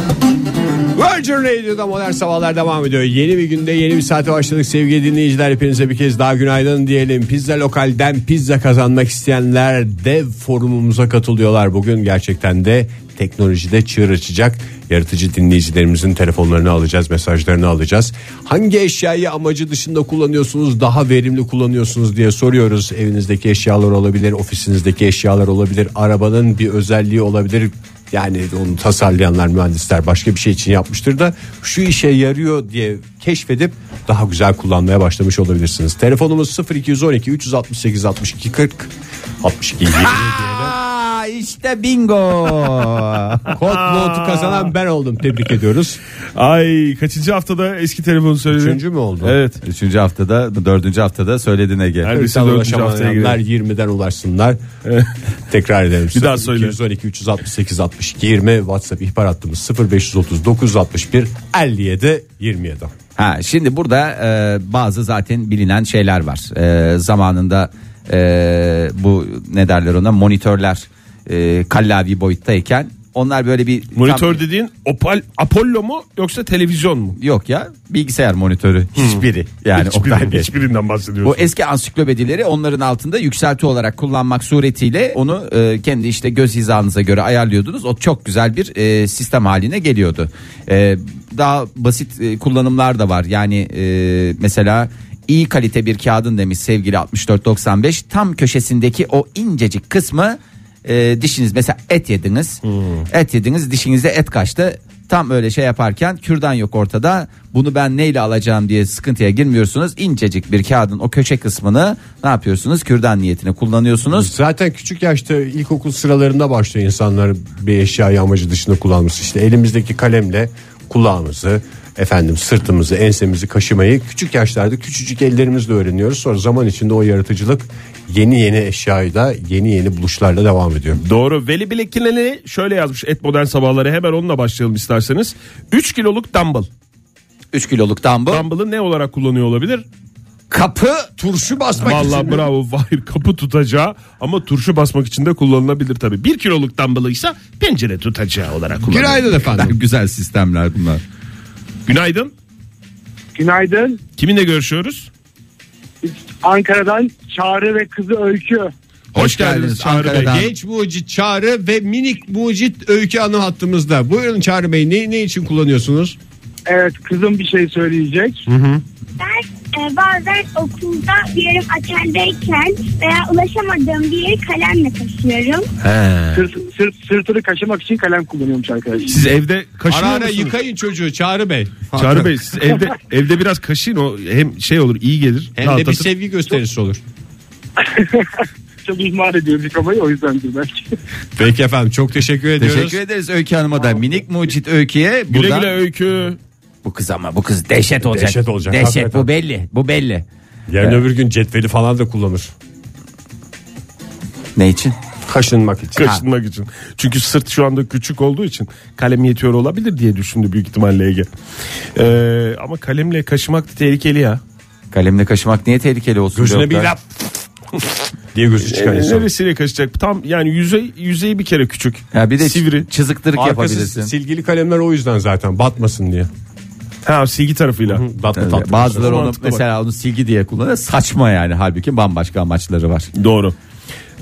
C: Virgin Radio'da modern sabahlar devam ediyor. Yeni bir günde yeni bir saate başladık sevgili dinleyiciler. Hepinize bir kez daha günaydın diyelim. Pizza Lokal'den pizza kazanmak isteyenler dev forumumuza katılıyorlar. Bugün gerçekten de teknolojide çığır açacak yaratıcı dinleyicilerimizin telefonlarını alacağız, mesajlarını alacağız. Hangi eşyayı amacı dışında kullanıyorsunuz, daha verimli kullanıyorsunuz diye soruyoruz. Evinizdeki eşyalar olabilir, ofisinizdeki eşyalar olabilir, arabanın bir özelliği olabilir. Yani onu tasarlayanlar mühendisler başka bir şey için yapmıştır da şu işe yarıyor diye keşfedip daha güzel kullanmaya başlamış olabilirsiniz. Telefonumuz 0212 368 62 40 62 20.
D: [LAUGHS]
E: Aa, işte bingo.
C: Kod notu kazanan ben oldum. Tebrik ediyoruz.
D: Ay kaçıncı haftada eski telefonu söyledin?
C: Üçüncü mü oldu?
D: Evet.
E: Üçüncü haftada dördüncü haftada söyledin Ege.
D: Evet. Birisi
C: Birisi
D: dördüncü haftaya
C: ulaşamayanlar 20'den
D: [LAUGHS]
C: ulaşsınlar. Tekrar edelim.
D: Bir daha söyle.
C: 212 368 62 20 WhatsApp ihbar hattımız 0539 61 57 27.
E: Ha şimdi burada e, bazı zaten bilinen şeyler var. E, zamanında e, bu ne derler ona monitörler e, kallavi boyuttayken onlar böyle bir
D: Monitör
E: tam-
D: dediğin Opal, Apollo mu yoksa televizyon mu?
E: yok ya bilgisayar monitörü hiçbiri yani Oktay Bey.
D: hiçbirinden
E: Bu
D: bahsediyorsun.
E: eski ansiklopedileri onların altında yükselti olarak kullanmak suretiyle onu e, kendi işte göz hizanıza göre ayarlıyordunuz. O çok güzel bir e, sistem haline geliyordu. E, daha basit e, kullanımlar da var. Yani e, mesela iyi kalite bir kağıdın demiş sevgili 6495 tam köşesindeki o incecik kısmı e, dişiniz mesela et yediniz.
C: Hmm.
E: Et yediniz dişinizde et kaçtı. Tam öyle şey yaparken kürdan yok ortada. Bunu ben neyle alacağım diye sıkıntıya girmiyorsunuz. İncecik bir kağıdın o köşe kısmını ne yapıyorsunuz? Kürdan niyetine kullanıyorsunuz.
C: Zaten küçük yaşta ilkokul sıralarında başlıyor insanlar bir eşyayı amacı dışında kullanması. İşte elimizdeki kalemle kulağımızı, efendim sırtımızı, ensemizi kaşımayı küçük yaşlarda küçücük ellerimizle öğreniyoruz. Sonra zaman içinde o yaratıcılık yeni yeni eşyayla, yeni yeni buluşlarla devam ediyor.
D: Doğru. Veli Bilekineli şöyle yazmış et modern sabahları hemen onunla başlayalım isterseniz. 3 kiloluk dumbbell.
E: 3 kiloluk dumbbell.
D: Dumbbell'ı ne olarak kullanıyor olabilir?
E: Kapı
C: Turşu basmak
D: Vallahi bravo Fahir kapı tutacağı ama turşu basmak için de kullanılabilir tabii. 1 kiloluk dumbbell'ı ise pencere tutacağı olarak kullanılıyor.
C: Günaydın efendim.
E: [LAUGHS] güzel sistemler bunlar.
D: Günaydın.
F: Günaydın.
D: Kiminle görüşüyoruz?
F: Ankara'dan Çağrı ve kızı Öykü.
D: Hoş,
E: Hoş
D: geldiniz,
E: geldiniz
D: Çağrı Bey.
E: Ankara'dan.
C: Genç mucit Çağrı ve minik mucit Öykü Hanım hattımızda. Buyurun Çağrı Bey ne, ne için kullanıyorsunuz?
F: Evet kızım bir şey söyleyecek.
G: Ben e, bazen okulda diyelim ateldeyken veya ulaşamadığım bir yeri kalemle taşıyorum.
F: Sırt, sırt, sırtını kaşımak için kalem kullanıyormuş arkadaşlar.
D: Siz evde kaşınıyor
C: Ara ara
D: musunuz?
C: yıkayın çocuğu Çağrı Bey.
D: Çağrı Bey siz evde evde biraz kaşıyın o hem şey olur iyi gelir.
C: Hem de bir
D: rahatlatır.
C: sevgi gösterisi olur.
F: Çok ihmal ediyoruz yıkamayı o yüzdendir belki.
C: Peki efendim çok teşekkür ediyoruz.
E: Teşekkür ederiz Öykü Hanım'a da. Minik mucit Öykü'ye
D: Güle
E: buradan-
D: güle öykü.
E: Bu kız ama bu kız dehşet olacak.
C: Dehşet olacak,
E: Dehşet
C: hakikaten.
E: bu belli. Bu belli.
C: Yarın öbür gün cetveli falan da kullanır.
E: Ne için?
C: Kaşınmak için.
D: Kaşınmak için. Çünkü sırt şu anda küçük olduğu için kalem yetiyor olabilir diye düşündü büyük ihtimalle Ege. Ee, ama kalemle kaşımak da tehlikeli ya.
E: Kalemle kaşımak niye tehlikeli olsun?
C: Gözüne
E: diyor
C: bir
E: Oktay?
C: laf diye gözü çıkar
D: Ee,
C: insan.
D: neresiyle kaşıyacak? Tam yani yüzey yüzeyi bir kere küçük.
E: Ya bir de
D: sivri.
E: çızıktırık
C: Arkası
E: yapabilirsin.
C: silgili kalemler o yüzden zaten batmasın diye.
D: Ha silgi tarafıyla.
C: Batma
E: Evet,
C: tatlı.
E: Bazıları onu
D: Mantıklı bak.
E: mesela onu silgi diye kullanır. Saçma yani halbuki bambaşka amaçları var.
D: Doğru.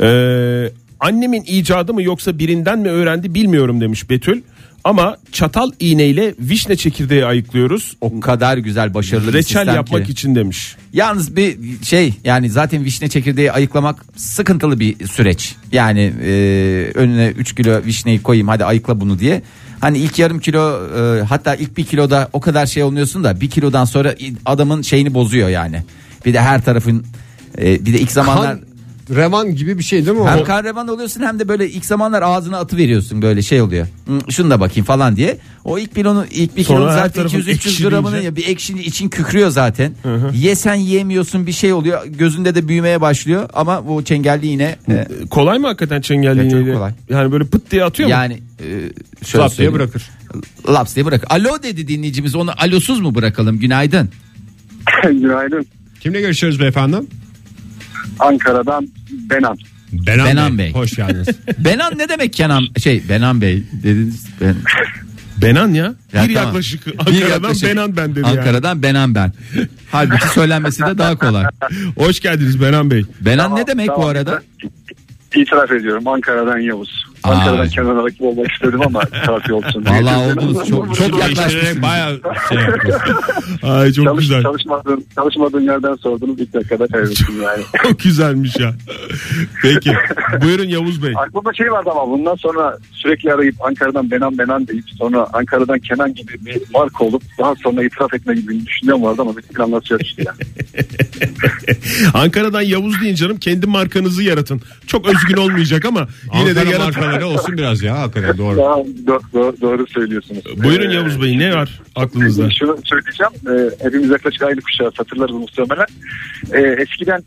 D: Ee, annemin icadı mı yoksa birinden mi öğrendi bilmiyorum demiş Betül. Ama çatal iğneyle vişne çekirdeği ayıklıyoruz.
E: O kadar güzel başarılı bir
D: Reçel
E: sistem
D: yapmak
E: ki.
D: için demiş.
E: Yalnız bir şey yani zaten vişne çekirdeği ayıklamak sıkıntılı bir süreç. Yani e, önüne 3 kilo vişneyi koyayım hadi ayıkla bunu diye. Hani ilk yarım kilo e, hatta ilk bir kiloda o kadar şey olmuyorsun da bir kilodan sonra adamın şeyini bozuyor yani. Bir de her tarafın e, bir de ilk zamanlar
C: Kan revan gibi bir şey değil mi?
E: Hem
C: o?
E: kahraman oluyorsun hem de böyle ilk zamanlar ağzına atı veriyorsun böyle şey oluyor. Hı, Şunu da bakayım falan diye. O ilk kilonun ilk bir
D: Sonra
E: kilonun
D: her
E: zaten
D: tarafın
E: 200 300
D: ekşi
E: gramını
D: deyince-
E: ya bir ekşini için kükrüyor zaten. Yesen yiyemiyorsun bir şey oluyor. Gözünde de büyümeye başlıyor ama bu çengelli yine e,
D: Kolay mı hakikaten çengelli
E: Evet, çok
D: iğneyle?
E: kolay.
D: Yani böyle pıt diye atıyor mu?
E: yani e, şöyle
C: Lap diye
E: söyleyeyim.
C: bırakır.
E: Laps diye bırak. Alo dedi dinleyicimiz onu alosuz mu bırakalım günaydın.
F: [LAUGHS] Günaydın.
C: Kimle görüşüyoruz beyefendi?
F: Ankara'dan Benan.
C: Benan,
E: Benan Bey.
C: Hoş geldiniz.
E: Benan ne demek Kenan şey Benan Bey dediniz. Ben,
D: Benan ya.
E: Ya tamam.
D: bir yaklaşık
E: Bir
D: Ankara'dan
E: yaklaşık.
D: Benan ben dedi yani.
E: Ankara'dan Benan ben. Halbuki söylenmesi de daha kolay.
D: Hoş geldiniz Benan Bey.
E: Benan
F: Tamam,
E: ne demek bu
F: tamam.
E: arada?
F: İtiraf ediyorum Ankara'dan Yavuz.
E: Aa.
F: Ankara'dan Kenan'a rakip olmak istedim ama kafi olsun. diye.
E: Vallahi oldunuz çok çok yaklaştınız.
C: Bayağı şey yaptınız.
D: Ay çok
F: Çalış,
D: güzel.
F: çalışmadığın, çalışmadığın yerden sordunuz ilk dakikada kaybettim yani.
D: Çok güzelmiş ya. Peki. Buyurun
C: [LAUGHS]
D: Yavuz Bey.
F: Aklımda şey vardı ama bundan sonra sürekli arayıp Ankara'dan Benan Benan deyip sonra Ankara'dan Kenan gibi bir marka olup daha sonra itiraf etme gibi bir düşüncem vardı ama bir tık anlatıyor işte. Yani.
D: Ankara'dan Yavuz deyin canım kendi markanızı yaratın. Çok özgün olmayacak ama yine de
C: Ankara
D: yaratın.
C: markaları olsun biraz ya hakikaten doğru.
F: Daha do- do- doğru söylüyorsunuz.
D: Buyurun
F: Ee,
D: Yavuz Bey ne var aklınızda?
F: Şimdi Şunu söyleyeceğim. Ee, hepimiz yaklaşık aynı kuşağız hatırlarız muhtemelen. Ee, eskiden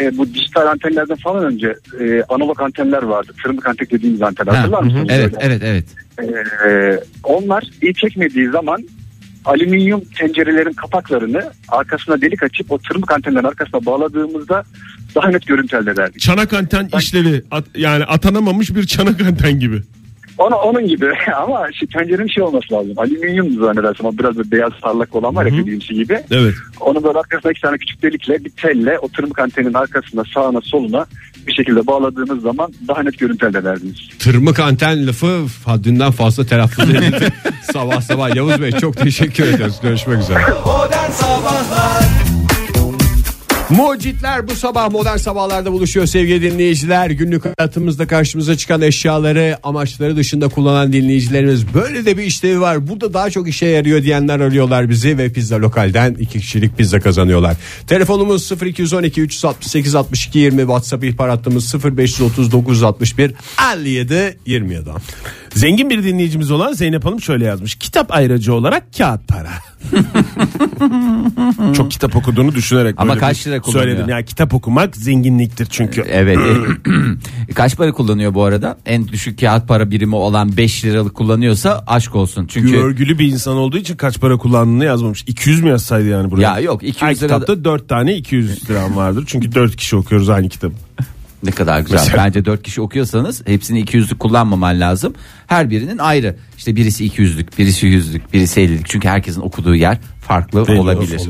F: e, bu dijital antenlerden falan önce e, analog antenler vardı. Tırmık anten dediğimiz antenler.
E: Ha,
F: Hatırlar
E: hı hı.
F: mısınız?
E: Evet evet evet.
F: Ee, onlar iyi çekmediği zaman alüminyum tencerelerin kapaklarını arkasına delik açıp o tırmık antenlerin arkasına bağladığımızda daha net görüntü elde ederdik.
D: Çanak anten işlevi at- yani atanamamış bir çanak anten gibi.
F: Ona, onun gibi [LAUGHS] ama şu tencerenin şey olması lazım. Alüminyum zannedersem o biraz da beyaz parlak olan var ya dediğimsi gibi.
D: Evet.
F: Onu böyle arkasına iki tane küçük delikle bir telle o tırmık antenin arkasına sağına soluna bir şekilde bağladığınız zaman daha net görüntü elde ederdiniz.
C: Tırmık anten lafı haddinden fazla telaffuz [LAUGHS] edildi. sabah sabah Yavuz Bey çok teşekkür ederiz. Görüşmek üzere.
B: Modern Sabahlar
C: Mucitler bu sabah modern sabahlarda buluşuyor sevgili dinleyiciler. Günlük hayatımızda karşımıza çıkan eşyaları amaçları dışında kullanan dinleyicilerimiz böyle de bir işlevi var. Burada daha çok işe yarıyor diyenler arıyorlar bizi ve pizza lokalden iki kişilik pizza kazanıyorlar. Telefonumuz 0212 368 62 20 WhatsApp ihbar hattımız 0539 61 57 27.
D: Zengin bir dinleyicimiz olan Zeynep Hanım şöyle yazmış. Kitap ayracı olarak kağıt
E: [LAUGHS]
D: para. Çok kitap okuduğunu düşünerek
E: Ama
D: böyle
E: kaç
D: bir
E: lira kullanıyor?
D: Söyledim yani kitap okumak zenginliktir çünkü.
E: Evet. [CLEARS THROAT] Kaç para kullanıyor bu arada? En düşük kağıt para birimi olan 5 liralık kullanıyorsa aşk olsun. Çünkü
D: Görgülü bir insan olduğu için kaç para kullandığını yazmamış. 200 mü yazsaydı yani buraya?
E: Ya yok, 200
D: Her
E: lira-
D: kitapta 4 tane 200 liram vardır. Çünkü 4 kişi okuyoruz aynı kitabı.
E: ne kadar güzel. Bence 4 kişi okuyorsanız hepsini 200'lük kullanmaman lazım. Her birinin ayrı. İşte birisi 200'lük, birisi 100'lük, birisi 50'lik. Çünkü herkesin okuduğu yer farklı olabilir.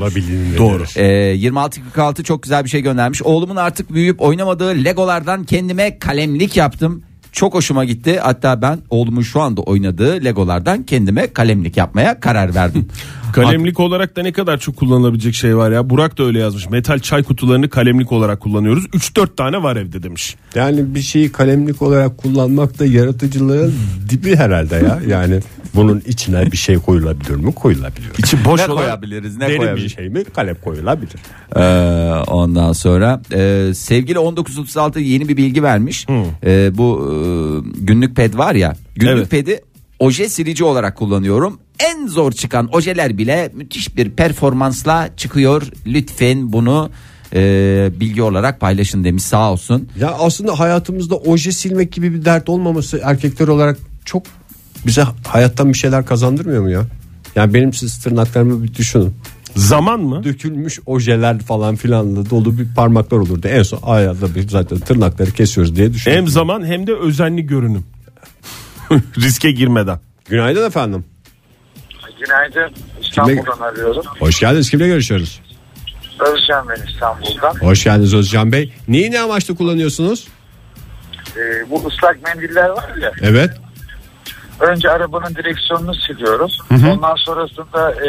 D: Doğru.
E: Ee, 2646 çok güzel bir şey göndermiş. Oğlumun artık büyüyüp oynamadığı legolardan kendime kalemlik yaptım. Çok hoşuma gitti. Hatta ben oğlumun şu anda oynadığı legolardan kendime kalemlik yapmaya karar verdim.
D: Kalemlik olarak da ne kadar çok kullanılabilecek şey var ya. Burak da öyle yazmış. Metal çay kutularını kalemlik olarak kullanıyoruz. 3-4 tane var evde demiş.
C: [LAUGHS] Yani bir şeyi kalemlik olarak kullanmak da yaratıcılığın dibi herhalde ya. Yani bunun içine bir şey koyulabilir mi? Koyulabilir.
D: İçi boş
E: Ne
D: olan
E: koyabiliriz, ne
D: deri bir
E: koyabiliriz?
D: şey.
C: şey mi? Kalem koyulabilir.
E: Ee, ondan sonra e, sevgili 1936 yeni bir bilgi vermiş. Ee, bu e, günlük ped var ya. Günlük
D: Evet.
E: pedi oje silici olarak kullanıyorum. En zor çıkan ojeler bile müthiş bir performansla çıkıyor. Lütfen bunu e, bilgi olarak paylaşın demiş sağ olsun.
C: Ya aslında hayatımızda oje silmek gibi bir dert olmaması erkekler olarak çok bize hayattan bir şeyler kazandırmıyor mu ya? Yani benim siz tırnaklarımı bir düşünün.
D: Zaman mı?
C: Dökülmüş ojeler falan filanla dolu bir parmaklar olurdu. En son ayağda bir zaten tırnakları kesiyoruz diye düşünüyorum.
D: Hem zaman hem de özenli görünüm. [LAUGHS] Riske girmeden.
C: Günaydın efendim.
H: Günaydın. İstanbul'dan arıyorum.
C: Hoş geldiniz. Kimle görüşüyoruz?
H: Özcan ben İstanbul'dan.
C: Hoş geldiniz Özcan Bey. Neyi ne amaçlı kullanıyorsunuz?
H: Ee, bu ıslak mendiller var ya.
C: Evet.
H: Önce arabanın direksiyonunu siliyorum. Ondan sonrasında e,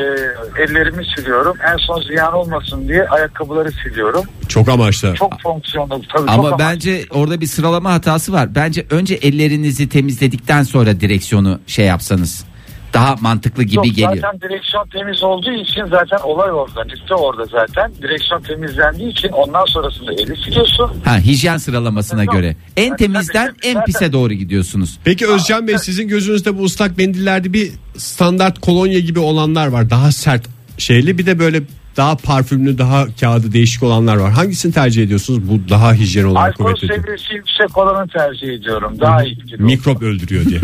H: ellerimi siliyorum. En son ziyan olmasın diye ayakkabıları siliyorum.
C: Çok amaçlı.
H: Çok fonksiyonlu. Tabii
E: Ama
H: çok amaçlı.
E: bence orada bir sıralama hatası var. Bence önce ellerinizi temizledikten sonra direksiyonu şey yapsanız. daha mantıklı gibi
H: Yok,
E: geliyor.
H: Zaten direksiyon temiz olduğu için zaten olay orada. Liste orada zaten. Direksiyon temizlendiği için ondan sonrasında eli siliyorsun.
E: Ha hijyen sıralamasına
H: Yok.
E: göre. En
H: Yani
E: temizden
H: tabii,
E: en
H: zaten-
E: pise doğru gidiyorsunuz.
C: Peki Özcan Bey sizin gözünüzde bu ıslak mendillerde bir standart kolonya gibi olanlar var. Daha sert şey. şeyli bir de böyle daha parfümlü daha kağıdı değişik olanlar var. Hangisini tercih ediyorsunuz? Bu daha hijyen olan
H: Alkol
C: kuvvetli.
H: seviyesi yüksek olanı tercih ediyorum. Daha iyi gidiyor.
C: Mikrop
H: [LAUGHS]
C: öldürüyor diye.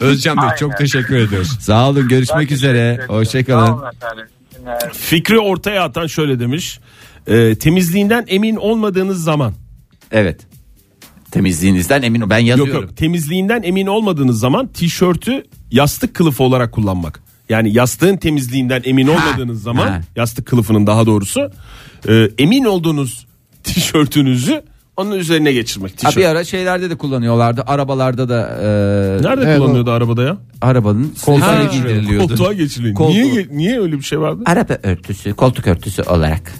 C: Özcan Bey çok
H: Aynen.
C: teşekkür ediyoruz.
E: Sağ olun
H: Ben
E: görüşmek
H: teşekkür
E: üzere.
H: ederim. Sağ
E: Hoşçakalın.
H: olun efendim. İyi günler.
D: Fikri ortaya atan şöyle demiş. E, temizliğinden emin olmadığınız zaman.
E: Evet. Temizliğinizden emin ben
D: Yok
E: yazıyorum.
D: yok. Temizliğinden emin olmadığınız zaman tişörtü yastık kılıfı olarak kullanmak. Yani yastığın temizliğinden emin olmadığınız zaman
E: Ha.
D: yastık kılıfının daha doğrusu e, emin olduğunuz [LAUGHS] tişörtünüzü onun üzerine geçirmek.
E: Ha,
D: Tişört.
E: bir ara şeylerde de kullanıyorlardı. Arabalarda da e,
D: Nerede kullanıyordu arabada ya?
E: arabanın koltuğa
D: Koltuğa
E: giydiriliyordu.
D: geçiliyor.
E: Koltuğu.
D: Niye ge- niye öyle bir şey vardı?
E: Araba örtüsü, koltuk örtüsü olarak.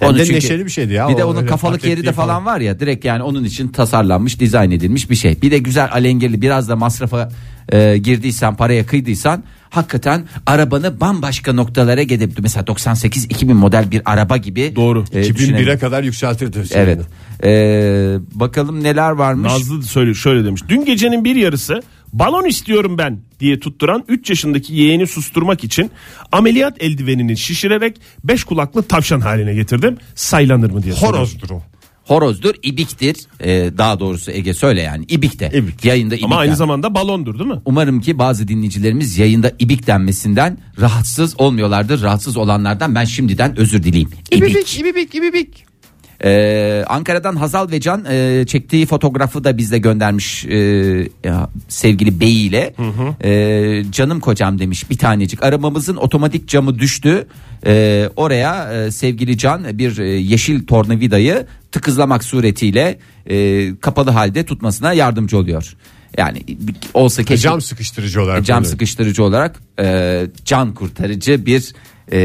C: Hem de neşeli bir şeydi ya.
E: Bir de
C: O
E: onun
C: öyle
E: kafalık yeri de
C: atletliği
E: falan, var ya direkt yani onun için tasarlanmış, dizayn edilmiş bir şey. Bir de güzel alengirli biraz da masrafa e, girdiysen, paraya kıydıysan hakikaten arabanı bambaşka noktalara gidebilir. Mesela 98 2000 model bir araba gibi.
D: Doğru.
E: e,
C: 2001'e
E: düşünelim.
C: kadar yükseltirdi. seni.
E: Evet. E, bakalım neler varmış.
D: Nazlı söyle şöyle demiş. Dün gecenin bir yarısı balon istiyorum ben diye tutturan 3 yaşındaki yeğeni susturmak için ameliyat eldivenini şişirerek 5 kulaklı tavşan haline getirdim. Saylanır mı diye soruyorum.
C: Horozdur o.
E: Horozdur, ibiktir. E, daha doğrusu Ege söyle yani ibik de.
C: İbik.
E: Yayında ibik
D: Ama aynı
E: dendi.
D: zamanda balondur değil mi?
E: Umarım ki bazı dinleyicilerimiz yayında ibik denmesinden rahatsız olmuyorlardır. Rahatsız olanlardan ben şimdiden özür dileyim. İbik, ibik, ibik. Ee, Ankara'dan Hazal ve Can e, çektiği fotoğrafı da bizde göndermiş e, ya, sevgili Bey ile. Ee, canım kocam demiş bir tanecik. Arabamızın otomatik camı düştü. Ee, oraya e, sevgili Can bir e, yeşil tornavidayı tıkızlamak suretiyle e, kapalı halde tutmasına yardımcı oluyor. Yani olsa keşke
C: Cam sıkıştırıcı olarak.
E: E, cam
C: kullanıyor.
E: sıkıştırıcı olarak e, can kurtarıcı bir e,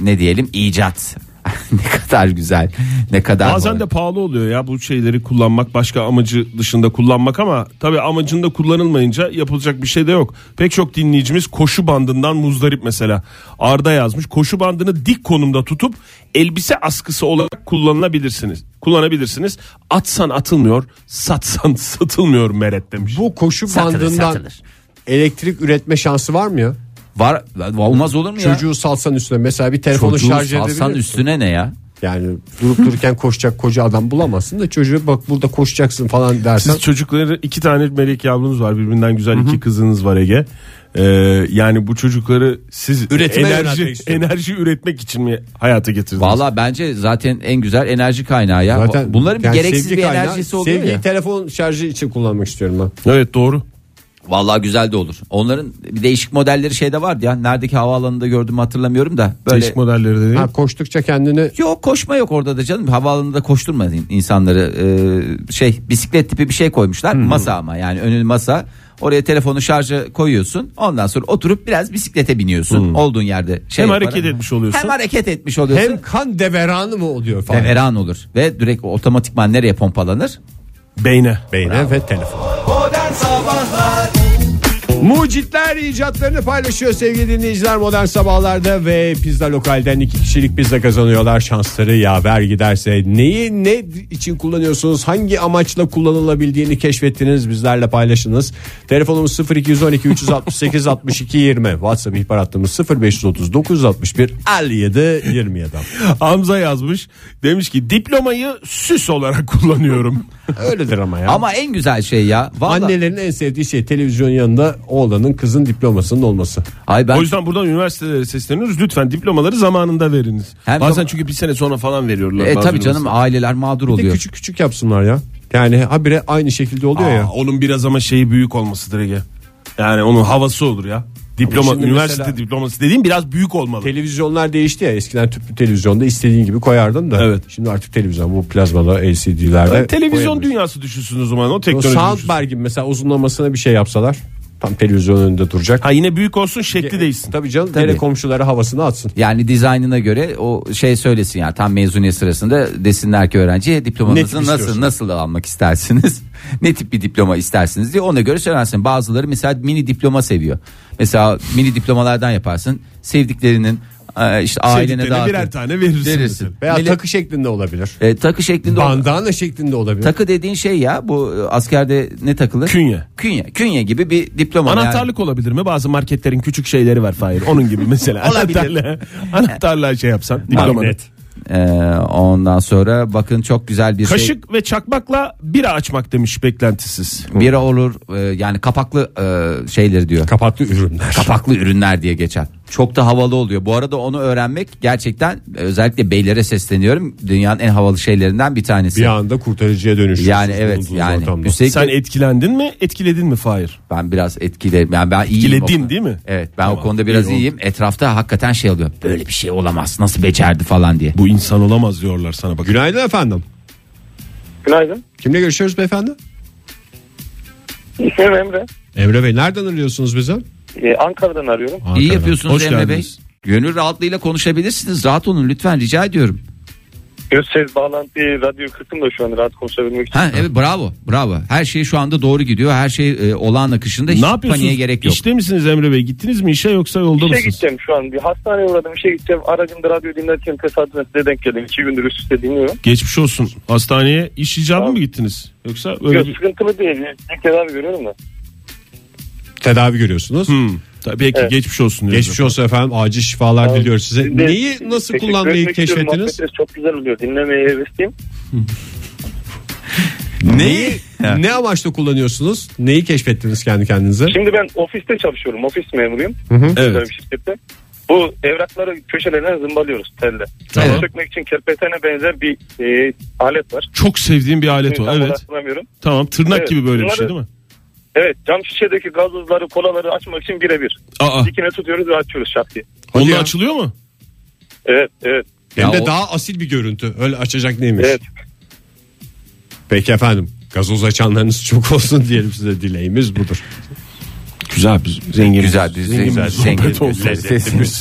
E: ne diyelim icat. [LAUGHS] ne kadar güzel. Ne kadar
D: Bazen de pahalı oluyor ya bu şeyleri kullanmak başka amacı dışında kullanmak ama tabii amacında kullanılmayınca yapılacak bir şey de yok. Pek çok dinleyicimiz koşu bandından muzdarip mesela. Arda yazmış koşu bandını dik konumda tutup elbise askısı olarak kullanılabilirsiniz. Kullanabilirsiniz. Atsan atılmıyor, satsan [LAUGHS] satılmıyor meret demiş.
C: Bu koşu
E: Satılır,
C: bandından
E: satılır.
C: elektrik üretme şansı var mı ya?
E: var olmaz olur mu ya?
C: Çocuğu salsan üstüne mesela bir telefonu
E: Çocuğu
C: şarj edebilir
E: salsan
C: misin?
E: üstüne ne ya?
C: Yani durup dururken koşacak koca adam bulamazsın da çocuğu bak burada koşacaksın falan dersen.
D: Siz çocukları iki tane melek yavrunuz var birbirinden güzel iki kızınız var Ege. Ee, yani bu çocukları siz
C: Üretime yöneltmek
D: enerji
C: istiyorum.
D: enerji üretmek için mi hayata getirdiniz?
E: Valla bence zaten en güzel enerji kaynağı ya.
C: Zaten
E: Bunların bir
C: yani
E: gereksiz
C: sevgi
E: bir
C: kaynağı,
E: enerjisi oluyor
C: Sevgiyi
E: ya.
C: telefon şarjı için kullanmak istiyorum ben.
D: Evet doğru.
E: Valla güzel de olur. Onların bir değişik modelleri şeyde vardı ya. Neredeki havaalanında gördüm hatırlamıyorum da. Böyle
D: Değişik modelleri de değil.
C: Ha, koştukça kendini
E: Yok koşma yok orada da canım. Havaalanında koşturmadın insanları. Ee, şey bisiklet tipi bir şey koymuşlar. Masa ama yani önün masa. Oraya telefonu şarja koyuyorsun. Ondan sonra oturup biraz bisiklete biniyorsun. Olduğun yerde şey
D: Hem
E: yaparak-
D: hareket etmiş oluyorsun.
E: Hem hareket etmiş oluyorsun.
C: hem kan deveranı mı oluyor falan.
E: Deveran olur ve direkt otomatikman nereye pompalanır?
D: Beyne.
C: Beyne ve telefon.
B: Modern Sabahlar
C: Mucitler icatlarını paylaşıyor sevgili dinleyiciler modern sabahlarda ve pizza lokalden iki kişilik pizza kazanıyorlar. Şansları yaver giderse neyi ne için kullanıyorsunuz hangi amaçla kullanılabildiğini keşfettiniz bizlerle paylaşınız. Telefonumuz 0212 368 62 20 WhatsApp ihbar hattımız 0530 961 57 27.
D: [LAUGHS] Hamza yazmış. Demiş ki diplomayı süs olarak [LAUGHS] kullanıyorum.
C: Öyledir ama ya.
E: Ama en güzel şey ya. Vallahi,
C: Annelerin en sevdiği şey televizyonun yanında oğlanın kızın diplomasının olması.
E: Ay ben
D: o yüzden buradan üniversitelere sesleniyoruz. Lütfen diplomaları zamanında veriniz.
E: Hem
D: Bazen
E: zaman-
D: çünkü bir sene sonra falan veriyorlar.
E: e
D: bazı
E: tabii canım
D: üniversiteler.
E: aileler mağdur
C: Bir de
E: oluyor.
C: küçük küçük yapsınlar ya. Yani habire aynı şekilde oluyor ya.
D: Aa, onun biraz ama şeyi büyük olmasıdır Ege. Yani onun havası olur ya. Diploma,
C: şimdi
D: üniversite
C: mesela-
D: diploması dediğim biraz büyük olmalı.
C: Televizyonlar değişti ya eskiden tüplü televizyonda istediğin gibi koyardın da.
D: Evet.
C: Şimdi artık televizyon bu plazmalı LCD'lerde.
D: E, Televizyon
C: koyabiliyorsun.
D: dünyası düşünsün o zaman o
C: O
D: teknoloji. düşünsün.
C: Soundbar'ın mesela uzunlamasına bir şey yapsalar. Tam televizyon önünde duracak. E,
D: Ha yine büyük olsun şekli değilsin.
C: Tabii canım
E: Tabii.
C: tele komşulara havasını atsın.
E: Yani dizaynına göre o şey söylesin yani tam mezuniyet sırasında desinler ki öğrenciye
C: Ne tip
E: diplomanızı
C: istiyorsun?
E: nasıl nasıl almak istersiniz? [LAUGHS] ne tip bir diploma istersiniz diye ona göre söylersin. Bazıları mesela mini diploma seviyor. Mesela mini diplomalardan yaparsın. Sevdiklerinin e, işte ailene
D: Sevdiklerine
E: dağıtır.
D: birer tane verirsin.
E: Verirsin.
C: Veya
E: Millet-
C: takı şeklinde olabilir.
E: E, takı şeklinde olan-
C: Bandana şeklinde olabilir.
E: Takı dediğin şey ya bu e, askerde ne takılır?
D: Künye.
E: Künye. Künye gibi bir diploma. yani.
D: Anahtarlık olabilir mi? Bazı marketlerin küçük şeyleri var Fahir. Onun gibi
C: [LAUGHS]
D: mesela.
E: Olabilir.
D: Anahtarla, anahtarla şey yapsan. diplomanı.
C: Magnet.
E: E, ondan sonra bakın çok güzel bir şey.
D: Kaşık ve çakmakla bira açmak demiş beklentisiz.
E: Bira olur e, yani kapaklı e, şeyleri diyor.
C: Kapaklı ürünler.
E: kapaklı ürünler diye geçer. Çok da havalı oluyor. Bu arada onu öğrenmek gerçekten e, özellikle beylere sesleniyorum. Dünyanın en havalı şeylerinden bir tanesi.
C: Bir anda kurtarıcıya dönüşüyorsunuz.
E: yani evet
C: bulunduğunuz
E: yani
C: ortamda.
E: üstelik
D: Sen etkilendin mi? Etkiledin mi Fahir?
E: ben biraz etkiledim. Yani ben iyiyim.
D: Etkiledin
E: o konuda.
D: değil mi?
E: Evet ben o konuda biraz
D: iyi oldu.
E: iyiyim. Etrafta hakikaten şey oluyor. Böyle bir şey olamaz. Nasıl becerdi falan diye.
D: Bu insan olamaz diyorlar sana bak.
C: Günaydın efendim.
I: Günaydın.
C: Kimle görüşüyoruz beyefendi?
I: İsmim Emre.
C: Emre Bey nereden arıyorsunuz bize?
I: Ee, Ankara'dan arıyorum.
E: İyi yapıyorsunuz
D: Hoş
E: Emre
D: geldiniz.
E: Bey. Gönül rahatlığıyla konuşabilirsiniz. Rahat olun lütfen rica ediyorum.
I: Göz ses bağlantı e, radyo kırdım da şu an rahat konuşabilmek için.
E: Ha evet bravo. Bravo. Her şey şu anda doğru gidiyor. Her şey e, olağan akışında. Hiç
D: Ne
E: paniğe
D: yapıyorsunuz?
E: gerek yok.
D: İşte misiniz Emre Bey? Gittiniz mi işe yoksa yolda
I: İşe
D: mısınız?
I: gideceğim şu an. Bir hastaneye uğradım işe gideceğim. Aracımda radyo dinlerken tesadüfen size denk geldim. İki gündür üst üste dinliyorum.
D: Geçmiş olsun. Hastaneye iş icabı mı gittiniz? Yoksa öyle
I: Yok
D: bir...
I: sıkıntılı değil. İlk tedavi görüyorum da.
C: Tedavi görüyorsunuz.
D: Hmm. Tabii ki
I: Evet.
D: geçmiş olsun. diyoruz.
C: Geçmiş olsun efendim. Acil şifalar
I: Tamam.
C: diliyoruz size.
I: Şimdi
C: Neyi nasıl
I: teşekkür
C: kullanmayı
I: etmek istiyorum.
C: keşfettiniz?
I: Muhabbetiniz Çok güzel oluyor. Dinlemeye hevesliyim.
C: Neyi ne amaçla kullanıyorsunuz? Neyi keşfettiniz kendi kendinize?
I: Şimdi ben ofiste çalışıyorum. Ofis memuruyum.
D: Evet.
I: Güzel bir şirkette. Bu evrakları köşelerine zımbalıyoruz telle.
E: Tamam.
I: Tamam. Sökmek için kerpetene benzer bir e, alet var.
D: Çok sevdiğim bir alet o.
I: Tam
D: Evet.
I: hatırlamıyorum.
D: Tamam tırnak
I: Evet.
D: gibi böyle bir şey
I: Bunları-
D: değil mi?
I: Evet cam şişedeki gazozları kolaları açmak için birebir.
D: Aa.
I: Dikine tutuyoruz ve açıyoruz şak diye.
D: Onunla
C: ya.
D: açılıyor mu?
I: Evet evet.
C: Hem
E: Ya
C: de
E: o-
C: daha asil bir görüntü. Öyle açacak neymiş?
I: Evet.
C: Peki efendim. Gazoz açanlarınız çok olsun diyelim size. Dileğimiz budur.
D: Güzel. Zengin.
E: Güzel, zengin, zengin,
D: Zengin.
E: zengin,
D: Sohbet olsun.
E: lezzetli bir